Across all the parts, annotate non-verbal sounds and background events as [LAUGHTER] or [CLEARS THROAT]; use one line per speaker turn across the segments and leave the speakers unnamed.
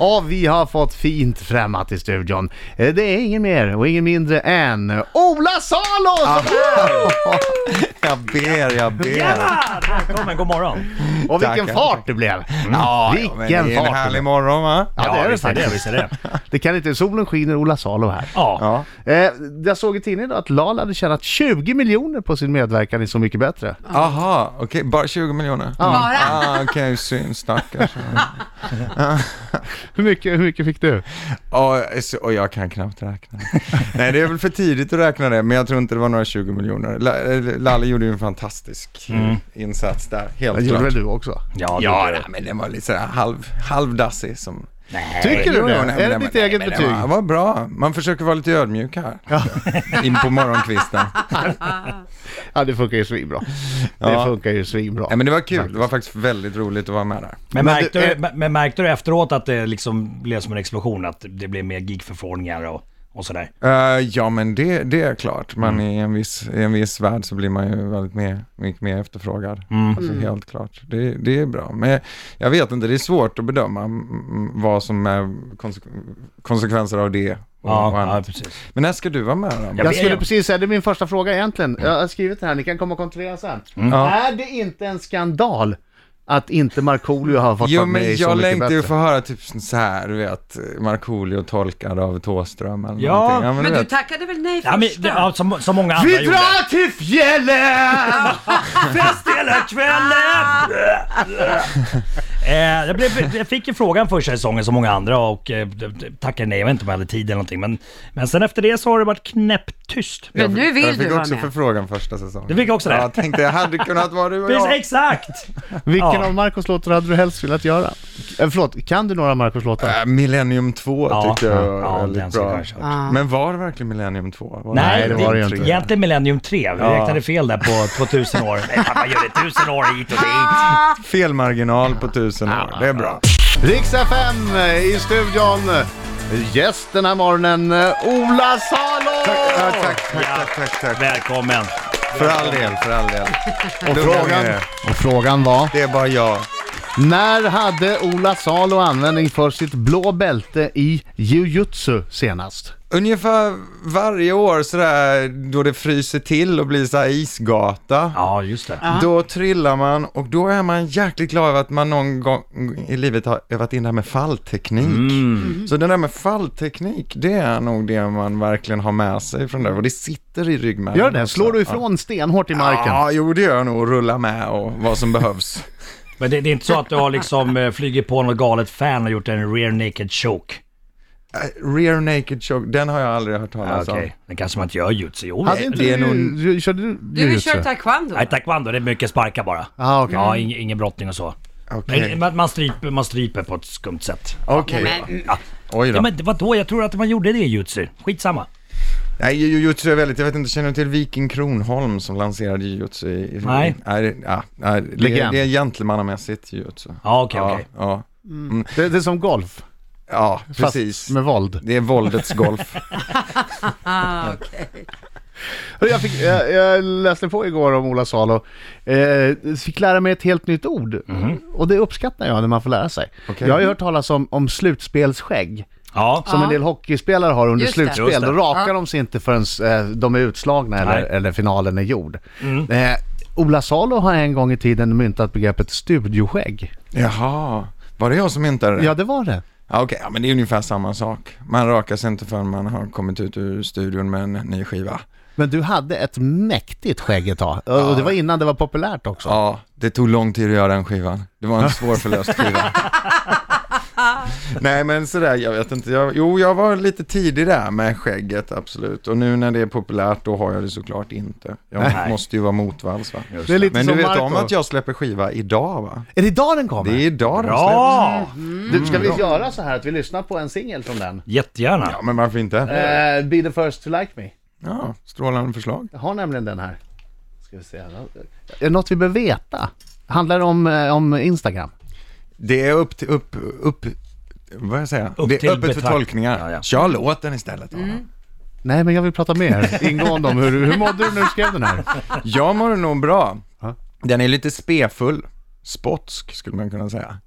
Ja, vi har fått fint främmat i studion. Eh, Det är ingen mer och ingen mindre än Ola Salo! som
Ah,
är här!
[LAUGHS] Jag ber, jag ber.
Välkommen, god morgon.
Och vilken
Tackar. Mm.
fart det blev!
Ja, ja, men det
vilken
är en
fart! det
härlig
blev.
morgon va?
Ja, det är det
visst är det,
faktiskt.
visst är det.
[LAUGHS] Det kan inte, solen skiner Ola Salo här.
Ja.
Ja.
Eh, jag såg i tidningen idag att Lal hade tjänat 20 miljoner på sin medverkan i Så Mycket Bättre.
Aha, okej, bara 20 miljoner?
Bara?
Ah, okej, synd stackars.
Hur mycket, hur mycket fick du?
Ja, så- Och jag kan knappt räkna. Nej, det är väl för tidigt att räkna det, men jag tror inte det var några 20 miljoner. La- eh, Lalle gjorde ju en fantastisk eh, insats där,
Det
helt
Mm. gjorde väl
klart.
du också?
Ja,
Ja, nej, men den var lite sådär halv, halvdassig som...
Tycker du
Jo,
det?
jo, nej, men
är det
den-
ditt
nej,
eget
men den
betyg?
Var, var bra. Man försöker vara lite ödmjuk här. In
[LAUGHS]
på morgonkvisten.
Ja, det funkar ju svinbra. Det
Ja.
funkar ju svinbra.
Nej, men det var kul. Det var faktiskt väldigt roligt att vara med där.
Men
Men, märkte
det-
du, men- men märkte du efteråt att det liksom blev som en explosion? Att det blev mer gigförfrågningar och, och sådär?
Eh, ja, men det, det är klart. Man
Mm.
i, en viss, I en viss värld så blir man ju väldigt mer, mycket mer efterfrågad.
Mm.
Alltså,
Mm.
helt klart. Det, det är bra. Men jag, jag vet inte, det är svårt att bedöma mm, vad som är konse- konsekvenser av det. Och, och
Ja, ja,
annat.
precis.
Men när ska du vara med då?
Jag
Jag
vet
skulle
jag.
precis säga, det är min första fråga egentligen. Jag har skrivit det här, ni kan komma och kontrollera sen.
Mm.
Är det inte en skandal att inte Markoolio har fått
Jo
vara med
men
i Så
jag
mycket
längtar ju
bättre?
få höra typ så här, du vet, Markoolio tolkad av Thåström eller
Ja,
någonting. Ja, men,
Men
du
du
vet.
tackade väl nej
Ja, men,
först?
det, ja, som, som många andra
Vi
gjorde.
drar till
[LAUGHS]
fjällen!
Fest [LAUGHS] hela kvällen! eh, jag, blev, jag fick ju frågan första säsongen som många andra och eh, tackade nej. Jag vet inte om jag hade tid eller någonting. Men, men sen efter det så har det varit knäpptyst.
Men nu
jag
vill
fick
du vara
också
med.
förfrågan första säsongen.
Du fick också det?
Ja, jag tänkte jag hade kunnat vara du och
Precis,
jag.
exakt!
Vilken
Ja.
av Marcos låtar hade du helst velat göra? Äh, förlåt, kan du några Marcos låtar?
Äh, Millennium 2
Ja,
tyckte jag var
ja, ja, den
väldigt
skulle
bra.
jag köra.
Ja.
Men var det verkligen Millennium 2? Var
Nej, det var
det ju inte.
Egentligen Millennium 3. Vi räknade fel där på 2000 år. Nej, fan, man gör det 1000 år hit och dit.
Felmarginal på tusen år, det är bra.
Rix FM i studion. Gäst den här morgonen, eh, Ola Salo!
Ja, tack, tack, tack, tack, tack.
Välkommen.
För all del, för all del.
Och
Lugna ner
frågan,
er.
och frågan var?
Det är bara jag.
När hade Ola Salo användning för sitt blå bälte i jujutsu senast?
Ungefär varje år sådär då det fryser till och blir så här isgata.
Ja, just det.
Då trillar man och då är man jäkligt glad över att man någon gång i livet har övat in det här med fallteknik.
Mm.
Mm.
Så det där med fallteknik, det är nog det man verkligen har med sig från det och det sitter i ryggmärgen.
Gör det?
också.
Slår du ifrån stenhårt i marken?
Ja, jo det gör jag nog. Rulla med och vad
[LAUGHS]
som behövs.
Men det, det är inte så att du har liksom eh, flugit på något galet fan och gjort en rear naked choke?
Eh, Rear naked choke, den har jag aldrig hört
Ja,
talas
Ah,
Okej, det kanske man inte gör jutsu. Jo,
Hade inte
Alltså. det är
du,
nog-
ju- körde du
Du vill köra
jujutsu?
taekwondo?
Nej, taekwondo det är mycket sparka bara.
Ah, okej.
Ja, ing, ingen brottning och så.
om. Okej,
Men man, man, stryper, man stryper på ett skumt sätt.
Okej.
Men-
Ja.
oj
Ja,
då.
men vadå? Jag tror att man gjorde det i jutsu. Skitsamma.
Nej, jujutsu är väldigt, jag vet inte, känner du till Viking Kronholm som lanserade jujutsu? i-
Nej.
Nej, det- ja, nej, det,
Legend.
det är gentlemannamässigt jujutsu.
Ja, okej, okej.
Ja,
Det, det är som golf,
ja, ja
fast
precis.
med våld.
Det är våldets golf.
Ah, okej.
Jag, fick, jag, jag läste på igår om Ola Salo. Eh, fick lära mig ett helt nytt ord. Och det uppskattar jag när man får lära sig.
Okej.
Jag har ju hört talas om, om slutspelsskägg.
Ja.
Som
Ja.
en del hockeyspelare har under
Just det.
slutspel.
Just det.
Då rakar
Ja.
de sig inte förrän eh, de är utslagna eller,
Nej.
eller finalen är gjord.
Mm.
Eh, Ola Salo har en gång i tiden myntat begreppet studioskägg.
[LAUGHS] Jaha, var det jag som myntade det?
Ja, det var det.
Ja, okej, ja, men det är ungefär samma sak. Man rakar sig inte förrän man har kommit ut ur studion med en ny skiva.
Men du hade ett mäktigt skägg ett tag. Och det var innan det var populärt också.
Ja, det tog lång tid att göra den skivan. Det var en svårförlöst skiva. Nej men sådär, jag vet inte. Jag, jo, jag var lite tidig där med skägget, absolut. Och nu när det är populärt, då har jag det såklart inte. Jag
Nej.
måste ju vara motvalls va.
Det är lite
Men du
som
vet
Marco.
om att jag släpper skiva idag va?
Är det idag den kommer?
Det Mm. är idag den släpps.
Bra!
Du, ska vi göra så här att vi lyssnar på en singel från den?
Jättegärna.
Ja, men varför inte?
Eh, Be the first to like me.
Ja, strålande förslag.
Jag har nämligen den här. Ska vi se. här. Är det något vi behöver veta? Handlar det om, eh, om Instagram?
Det är upp till, upp, upp, vad jag säger?
Upp
det
till
är öppet för
betrakt-
tolkningar.
Ja, Mm. ja.
Kör låten istället. Adam.
Nej, men jag vill prata med er ingående om hur, hur mådde du när du skrev den här?
Jag mår nog bra.
[LAUGHS] Ja.
Den är lite spefull. Spotsk skulle man kunna säga.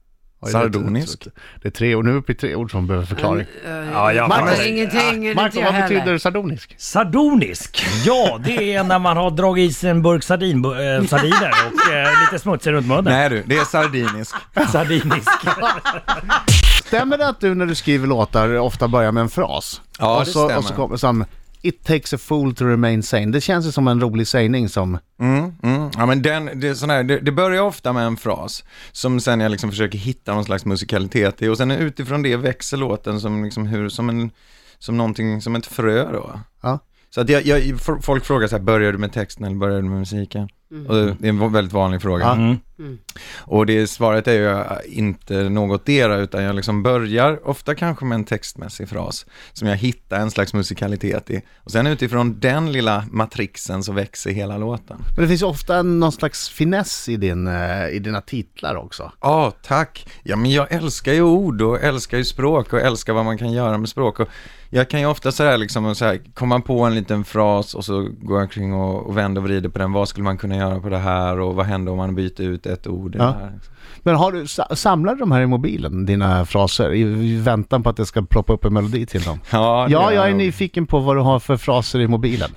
Oj,
Sardonisk.
Det, det, det är tre ord, nu är vi uppe i tre ord som behöver förklaring.
Ja, jag
Marcus.
fattar.
Ingenting. inte
ah, Marco,
jag
vad
heller.
betyder sardonisk?
Sardonisk, ja det är när man har dragit i sig en burk sardin, eh, sardiner och eh, lite smutsig runt munnen.
Nej du, det är sardinisk.
Sardinisk.
Mm.
Stämmer det att du när du skriver låtar ofta börjar med en fras?
Ja,
och
det
så,
stämmer.
Och så kommer som It takes a fool to remain sane. Det känns ju som en rolig sägning som...
Mm, mm. Ja, men den, det, är sån här, det, det börjar ofta med en fras som sen jag liksom försöker hitta någon slags musikalitet i och sen utifrån det växer låten som, liksom hur, som, en, som, någonting, som ett frö då.
Ja.
Så att jag, jag, f- folk frågar så här, börjar du med texten eller börjar du med musiken? Och det är en väldigt vanlig fråga.
Ja.
Mm.
Och det svaret är ju eh, inte någotdera utan jag liksom börjar, ofta kanske med en textmässig fras som jag hittar en slags musikalitet i. Och sen utifrån den lilla matrixen så växer hela låten.
Men det finns ju ofta någon slags finess i, din, eh, i dina titlar också.
Ja, tack. Ja, men jag älskar ju ord och älskar ju språk och älskar vad man kan göra med språk. Och jag kan ju ofta så här liksom och så här, komma på en liten fras och så går jag omkring och, och vänder och vrider på den. Vad skulle man kunna göra på det här och vad händer om man byter ut ett ord i
Ja.
det här?
Men har du, sa- samlar du de här i mobilen, dina fraser, i, i väntan på att jag ska ploppa upp en melodi till dem?
Ja, det
Ja,
gör
jag är
nog.
nyfiken på vad du har för fraser i [LAUGHS] mobilen.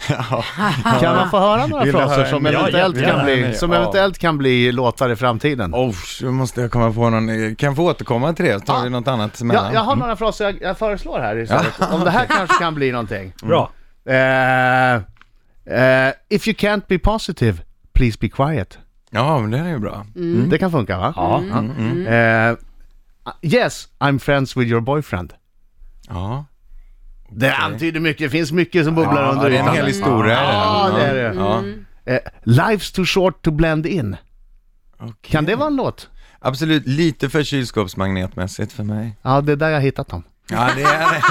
Kan man få höra några
Vill du
fraser
höra
som
en?
Ja,
eventuellt,
jättegärna.
kan bli, som
Ja.
eventuellt kan bli låtar i framtiden?
Oh, nu måste jag komma på någon. Kan jag få återkomma till det? Tar vi
Ah.
något annat
Ja,
emellan?
jag har några fraser jag, jag föreslår här istället. Om det här kanske kan bli någonting.
Bra.
Eh, eh, if you can't be positive, please be quiet.
Ja, men den är ju bra.
Det kan funka va?
Ja.
Eh, yes, I'm friends with your boyfriend.
Ja.
Det antyder mycket, det finns mycket som bubblar
Ja,
under
det är en hel historia.
Ja, det är det.
Ja.
Eh, Life's too short to blend in.
Okej.
Kan det vara en låt?
Absolut, lite för kylskåpsmagnetmässigt för mig.
Ja, det är där jag hittat dem.
Ja, det är [LAUGHS] det.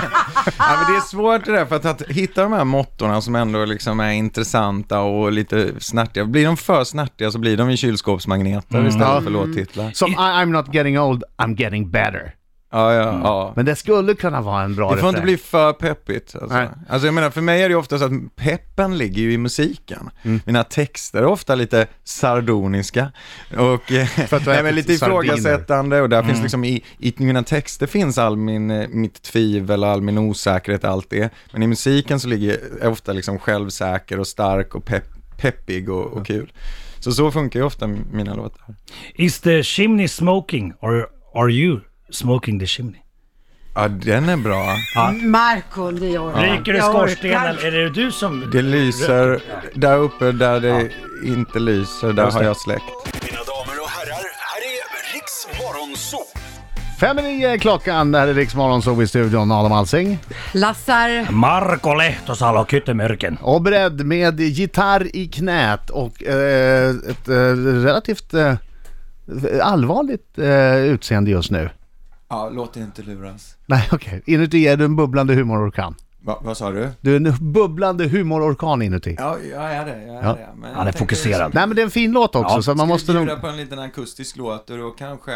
Ja, men det är svårt det där, för att, att hitta de här mottorna som ändå liksom är intressanta och lite snärtiga. Blir de för snärtiga så blir de ju kylskåpsmagneter istället för låttitlar.
Som I, I'm not getting old, I'm getting better.
Ja, ja, ja.
Men det skulle kunna vara en bra
Det får inte
refräng.
bli för peppigt. Alltså.
Nej.
alltså jag menar, för mig är det ju ofta så att peppen ligger ju i musiken.
Mm.
Mina texter är ofta lite sardoniska och eh,
[LAUGHS] För att du har
nej, men
ätit
lite
sardiner. Mm.
ifrågasättande och där finns liksom i, i mina texter finns all min, eh, mitt tvivel och all min osäkerhet, allt det. Men i musiken så ligger jag ofta liksom självsäker och stark och pepp, peppig och, och kul. Så så funkar ju ofta mina låtar.
Is the chimney smoking or are you smoking the chimney?
Ja, den är bra.
Marco, det gör jag.
Ryker det i
Jag orkar
skorstenen? Är det du som...
Det lyser där uppe där det inte lyser, där har jag släckt.
Mina damer och herrar, här är Riks Morgonzoo!
Fem i nio är klockan, det här är Rix Morgonzoo i studion, Adam Alsing.
Lassar.
Marko Lehtosalo Kyttemyrken.
Och beredd med gitarr i knät och eh, ett eh, relativt eh, allvarligt eh, utseende just nu.
Ja, låt dig inte luras.
Nej [LAUGHS] okej, inuti är du en bubblande humororkan.
Va, vad sa du?
Du är en bubblande humororkan inuti.
Ja, jag är det. Jag är
Ja.
det. Men
Han är
jag tänkte-
fokuserad.
Nej men det är en fin låt också
Ja,
så man
Ska
måste nog...
bjuda på en liten akustisk låt och då kanske,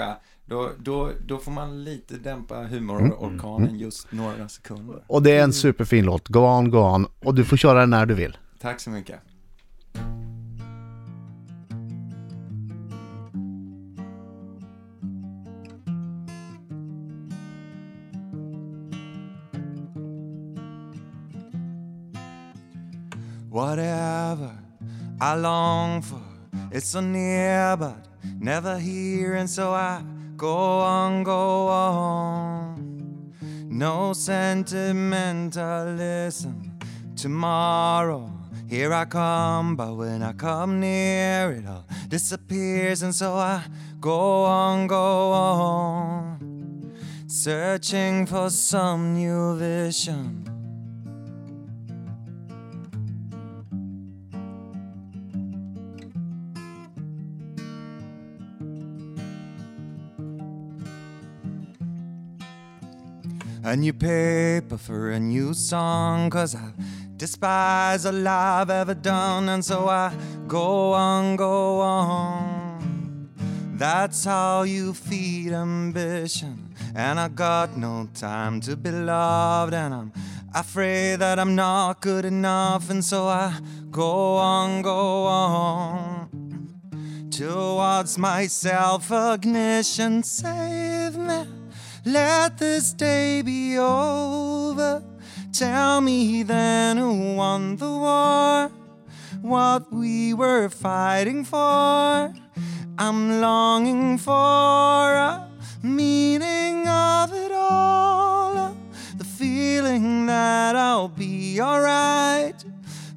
då, då, då får man lite dämpa
Mm.
humororkanen just några sekunder.
Och det är en superfin låt, Go on, go on. Och du får köra den när du vill.
Tack så mycket. Whatever I long for, it's so near but never here, and so I go on, go on. No sentimentalism. Tomorrow, here I come, but when I come near, it all disappears, and so I go on, go on, searching for some new vision. a new paper for a new song cause i despise all i've ever done and so i go on go on that's how you feed ambition and i got no time to be loved and i'm afraid that i'm not good enough and so i go on go on
towards myself ignition save me let this day be over tell me then who won the war what we were fighting for i'm longing for a meaning of it all the feeling that i'll be alright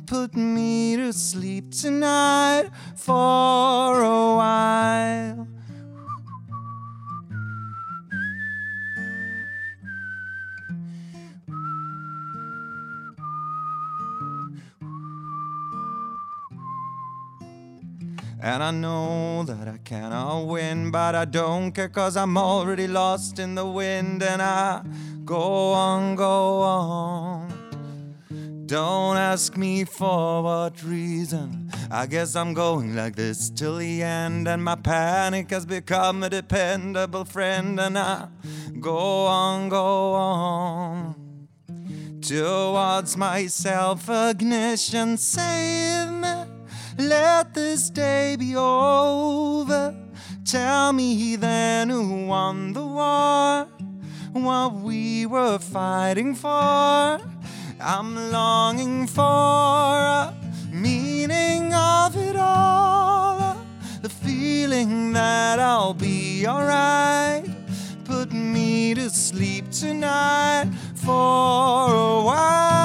put me to sleep tonight for a while. And I know that I cannot win, but I don't care cause I'm already lost in the wind and I go on, go on. Don't ask me for what reason. I guess I'm going like this till the end, and my panic has become a dependable friend, and I go on, go on. Towards myself, ignition, save me. Let this day be over. Tell me then who won the war what we were fighting for. I'm longing for a meaning of it all, the feeling that I'll be alright. Put me to sleep tonight for a while.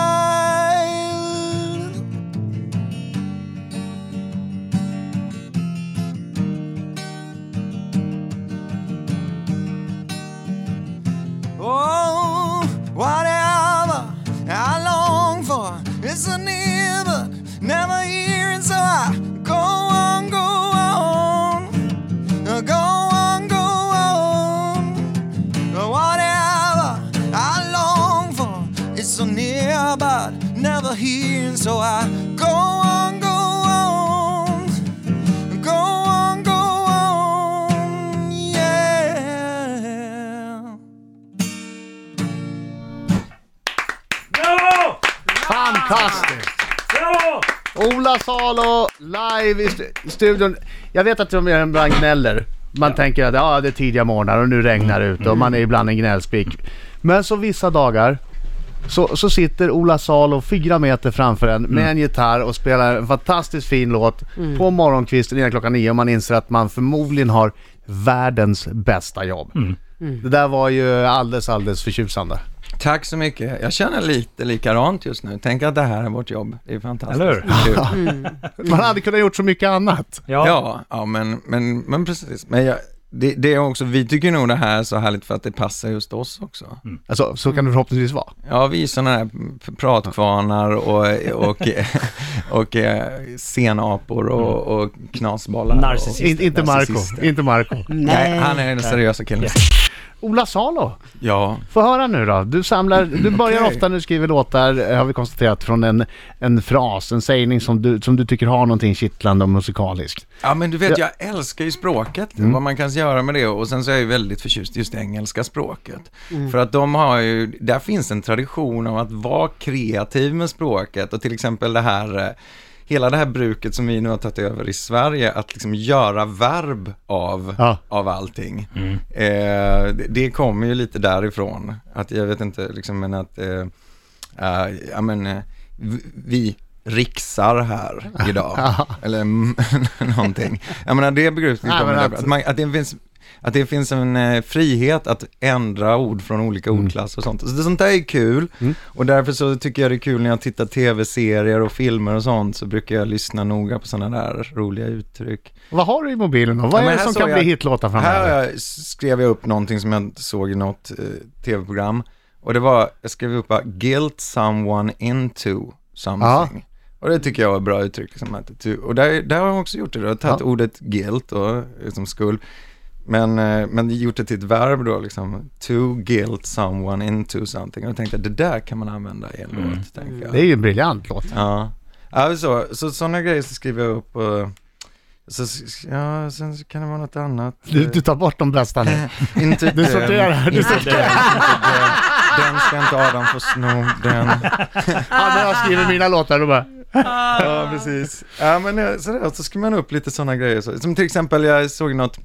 Oh, whatever I long for is a near but never here, and so I go on, go on, go on, go on. Whatever I long for is so near but never here, and so I go on, go on. Go on, go on, yeah.
Bravo!
Fantastiskt!
Bravo!
Ola Salo live i stu- i studion. Jag vet att de ibland gnäller. Man tänker att ja, Mm. det är tidiga morgnar och nu regnar det ute och man är ibland en gnällspik. Men så vissa dagar så, så sitter Ola Salo fyra meter framför en med en gitarr och spelar en fantastiskt fin låt på morgonkvisten innan klockan nio och man inser att man förmodligen har världens bästa jobb. Det där var ju alldeles, alldeles förtjusande.
Tack så mycket. Jag känner lite likadant just nu. Tänk att det här är vårt jobb. Det är fantastiskt.
Eller hur?
Kul.
Man hade kunnat gjort så mycket annat.
Ja.
Ja, ja men, men, men precis. Men jag, det, det är också, vi tycker nog det här är så härligt för att det passar just oss också.
Mm.
Alltså, så kan det förhoppningsvis vara.
Ja, vi är sådana här p- pratkvarnar och, och,
[LAUGHS]
och, och eh, senapor och, och knasbollar.
Mm. Narcissist.
Och,
In, inte Marco,
Narcissisten.
inte Marco.
nej, han är den seriösa killen.
Ola Salo,
Ja,
få höra nu då. Du samlar, du börjar
Okej.
ofta när du skriver låtar, eh, har vi konstaterat, från en, en fras, en sägning som du, som du tycker har någonting kittlande och musikaliskt.
Ja men du vet, jag älskar ju språket, vad man kan göra med det och sen så är jag ju väldigt förtjust i just det engelska språket. För att de har ju, där finns en tradition av att vara kreativ med språket och till exempel det här, eh, hela det här bruket som vi nu har tagit över i Sverige, att liksom göra verb av,
Ja. Mm.
av allting. Eh, det, det kommer ju lite därifrån, att jag vet inte liksom men att eh, Eh, ja men eh, vi- vi riksar
[LAUGHS]
här idag. Eller mm, [LAUGHS] någonting. Jag menar det begreppet
Nej, men
kommer
att-
att, att, man, att, det finns, att det finns en eh, frihet att ändra ord från olika
Mm.
ordklasser och sånt. Så det, sånt där är kul och därför så tycker jag det är kul när jag tittar tv-serier och filmer och sånt så brukar jag lyssna noga på sådana där roliga uttryck.
Vad har du i mobilen då? Vad
Ja,
är
men
det
här
som
såg
kan
jag-
bli hitlåtar framöver?
Här har jag, skrev jag upp någonting som jag inte såg i något eh, tv-program. Och det var, jag skrev upp bara, guilt someone into something. Och det tycker jag var ett bra uttryck. Liksom, att, du- och där, där har jag också gjort det, då. jag har tagit
Ja.
ordet guilt och liksom skuld. Men, eh, men gjort det till ett verb då, liksom, to guilt someone into something. Och jag tänkte att det där kan man använda i en låt, tänker jag.
Det är ju en briljant låt.
Ja, alltså, så sådana grejer så skriver jag upp och så, s- ja, sen så kan det vara något annat.
[LAUGHS] Du,
eh,
du tar bort de bästa nu.
inte
Du
den.
sorterar här. Du
Inte
sorterar.
den, inte den. Den ska inte Adam få sno. Den.
[LAUGHS] Ja, när jag skriver mina låtar då bara...
Ja, precis. Ja, men eh, sådär, så skriver man upp lite sådana grejer. Så- Som till exempel, jag såg något,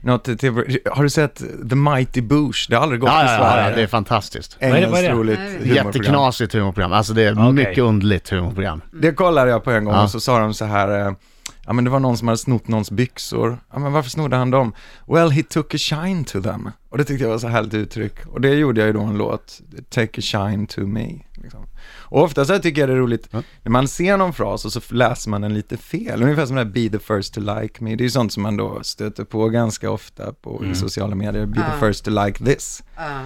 något TV, har du sett The Mighty Boosh? Det har aldrig gått
Ja,
i
ja, ja,
Sverige.
ja, det är fantastiskt.
är det?
Engelskt
Vad är det?
roligt
Nej,
humorprogram.
Jätteknasigt humorprogram. Alltså det är mycket underligt humorprogram.
Mm. Det kollade jag på en gång
Ja.
och så sa de så här, eh, ja men det var någon som hade snott någons byxor. Ja men varför snodde han dem? Well he took a shine to them. Och det tyckte jag var så härligt uttryck. Och det gjorde jag ju då en låt, Take a shine to me. Liksom. Och ofta så här tycker jag det är roligt, när man ser någon fras och så f- läser man den lite fel. Ungefär som det här be the first to like me. Det är ju sånt som man då stöter på ganska ofta på i sociala medier. Be the first to like this.
Ja.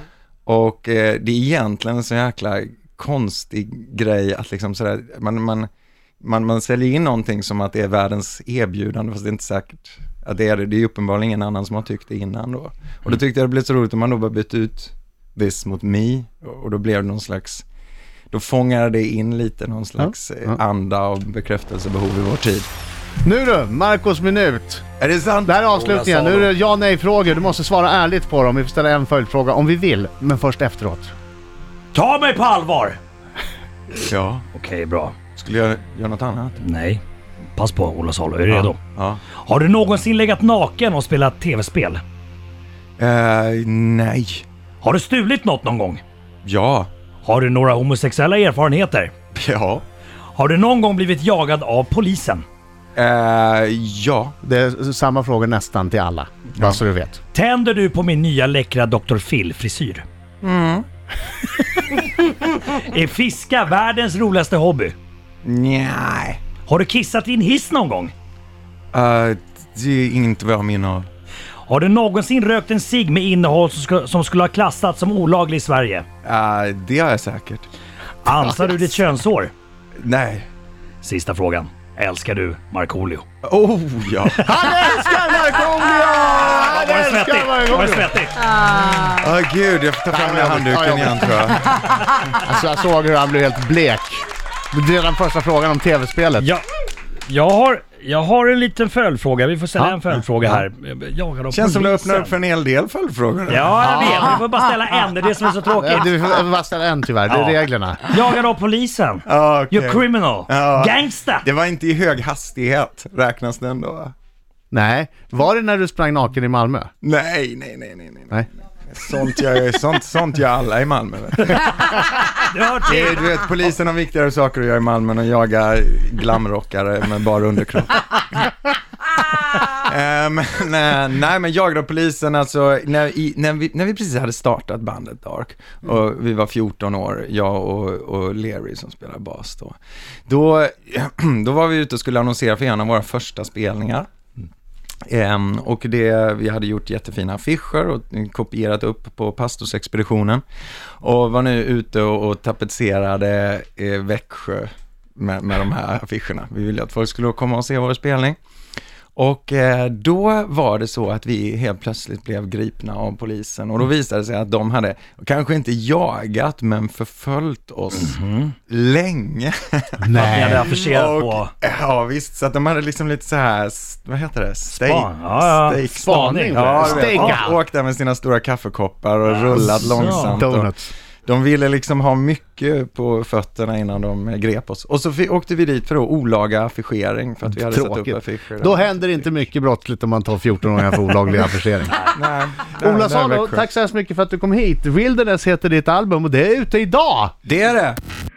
Och eh, det är egentligen en sån jäkla konstig grej att liksom sådär, man, man, man, man säljer in någonting som att det är världens erbjudande, fast det är inte säkert att det är det. Det är ju uppenbarligen ingen annan som har tyckt det innan då. Och då tyckte jag det blev så roligt om man då bara bytte ut this mot me och då blev det någon slags då fångar det in lite någon slags eh, anda och bekräftelsebehov i vår tid.
Nu du, Marcos minut.
Är det sant?
Det här är avslutningen. Nu är det ja nej-frågor. Du måste svara ärligt på dem. Vi får ställa en följdfråga om vi vill, men först efteråt.
Ta mig på allvar!
Ja.
Okej, bra.
Skulle jag göra något annat?
Nej. Pass på Ola Salo, är du redo?
Ja.
Har du någonsin legat naken och spelat tv-spel?
Eh, nej.
Har du stulit något någon gång?
Ja. [LAUGHS]
Har du några homosexuella erfarenheter?
Ja.
Har du någon gång blivit jagad av polisen?
Eh, ja.
Det är samma fråga nästan till alla. Bara så du vet.
Tänder du på min nya läckra Dr. Phil-frisyr? Mm. [LAUGHS] är fiska världens roligaste hobby?
Nej.
Har du kissat i en hiss någon gång?
Eh, det är inte vad jag menar.
Har du någonsin rökt en cigg med innehåll som, ska, som skulle ha klassats som olaglig i Sverige?
Eh, det har jag säkert.
Ansar du ditt könshår?
Nej.
Sista frågan. Älskar du Markoolio?
Oh
[LAUGHS]
ja. Han älskar Markoolio!
Var det svettigt?
Markoolio!
Var det svettigt?
Åh Ah, gud, jag får ta fram den här handduken igen tror jag.
Alltså jag såg hur han blev helt blek. Det är den första frågan om tv-spelet.
Ja, jag har, jag har en liten följdfråga. Vi får ställa
Ja.
en följdfråga här. Jagad av
Känns som du
polisen.
öppnar upp för en hel del följdfrågor.
Ja, jag vet. Vi får bara ställa en. Det är det som är så
Eh,
tråkigt.
Du får bara ställa en tyvärr. Det är
Ja.
reglerna.
Jagad av polisen.
Ja, Ah, okej.
You're criminal.
Ja.
Gangsta.
Det var inte i hög hastighet, räknas den då? va?
Nej. Var det när du sprang naken i Malmö?
Nej, nej, nej, nej, nej.
Nej.
Sånt gör, sånt, sånt gör alla i Malmö. Vet du.
Du hör
Det
till.
är, du vet, polisen har viktigare saker att göra i Malmö än att jaga glamrockare med bara underkropp. Eh, men, eh, nej men jag då polisen alltså, när, i, när, vi, när vi precis hade startat bandet Dark och vi var 14 år, jag och, och Leary som spelar bas då. Då, [CLEARS THROAT] då var vi ute och skulle annonsera för en av våra första spelningar. Ehm, och det, vi hade gjort jättefina affischer och kopierat upp på pastorsexpeditionen. Och var nu ute och, och tapetserade eh, Växjö med, med de här affischerna. Vi ville att folk skulle komma och se vår spelning. Och eh, då var det så att vi helt plötsligt blev gripna av polisen och då visade det sig att de hade, kanske inte jagat, men förföljt oss länge.
Ni hade affischerat
Och,
på...
[LAUGHS] ja visst, så att de hade liksom lite så här, s- vad heter det? Steak,
Span. Ja, ja.
steak-
Spaning.
Ja,
Ja,
du vet,
Stakeout.
åkt- åkt där med sina stora kaffekoppar och rullat
så.
långsamt. Och
Donuts.
de ville liksom ha mycket på fötterna innan de eh, grep oss. Och så fi- åkte vi dit för då olaga affischering för att vi hade satt
Tråkigt.
upp affischer.
Då händer inte mycket brottsligt om man tar 14-åringar för olaglig affischering.
Nej, nej,
Ola
nej,
Salo,
Växjö.
tack så hemskt mycket för att du kom hit. Wilderness heter ditt album och det är ute idag!
Det är det!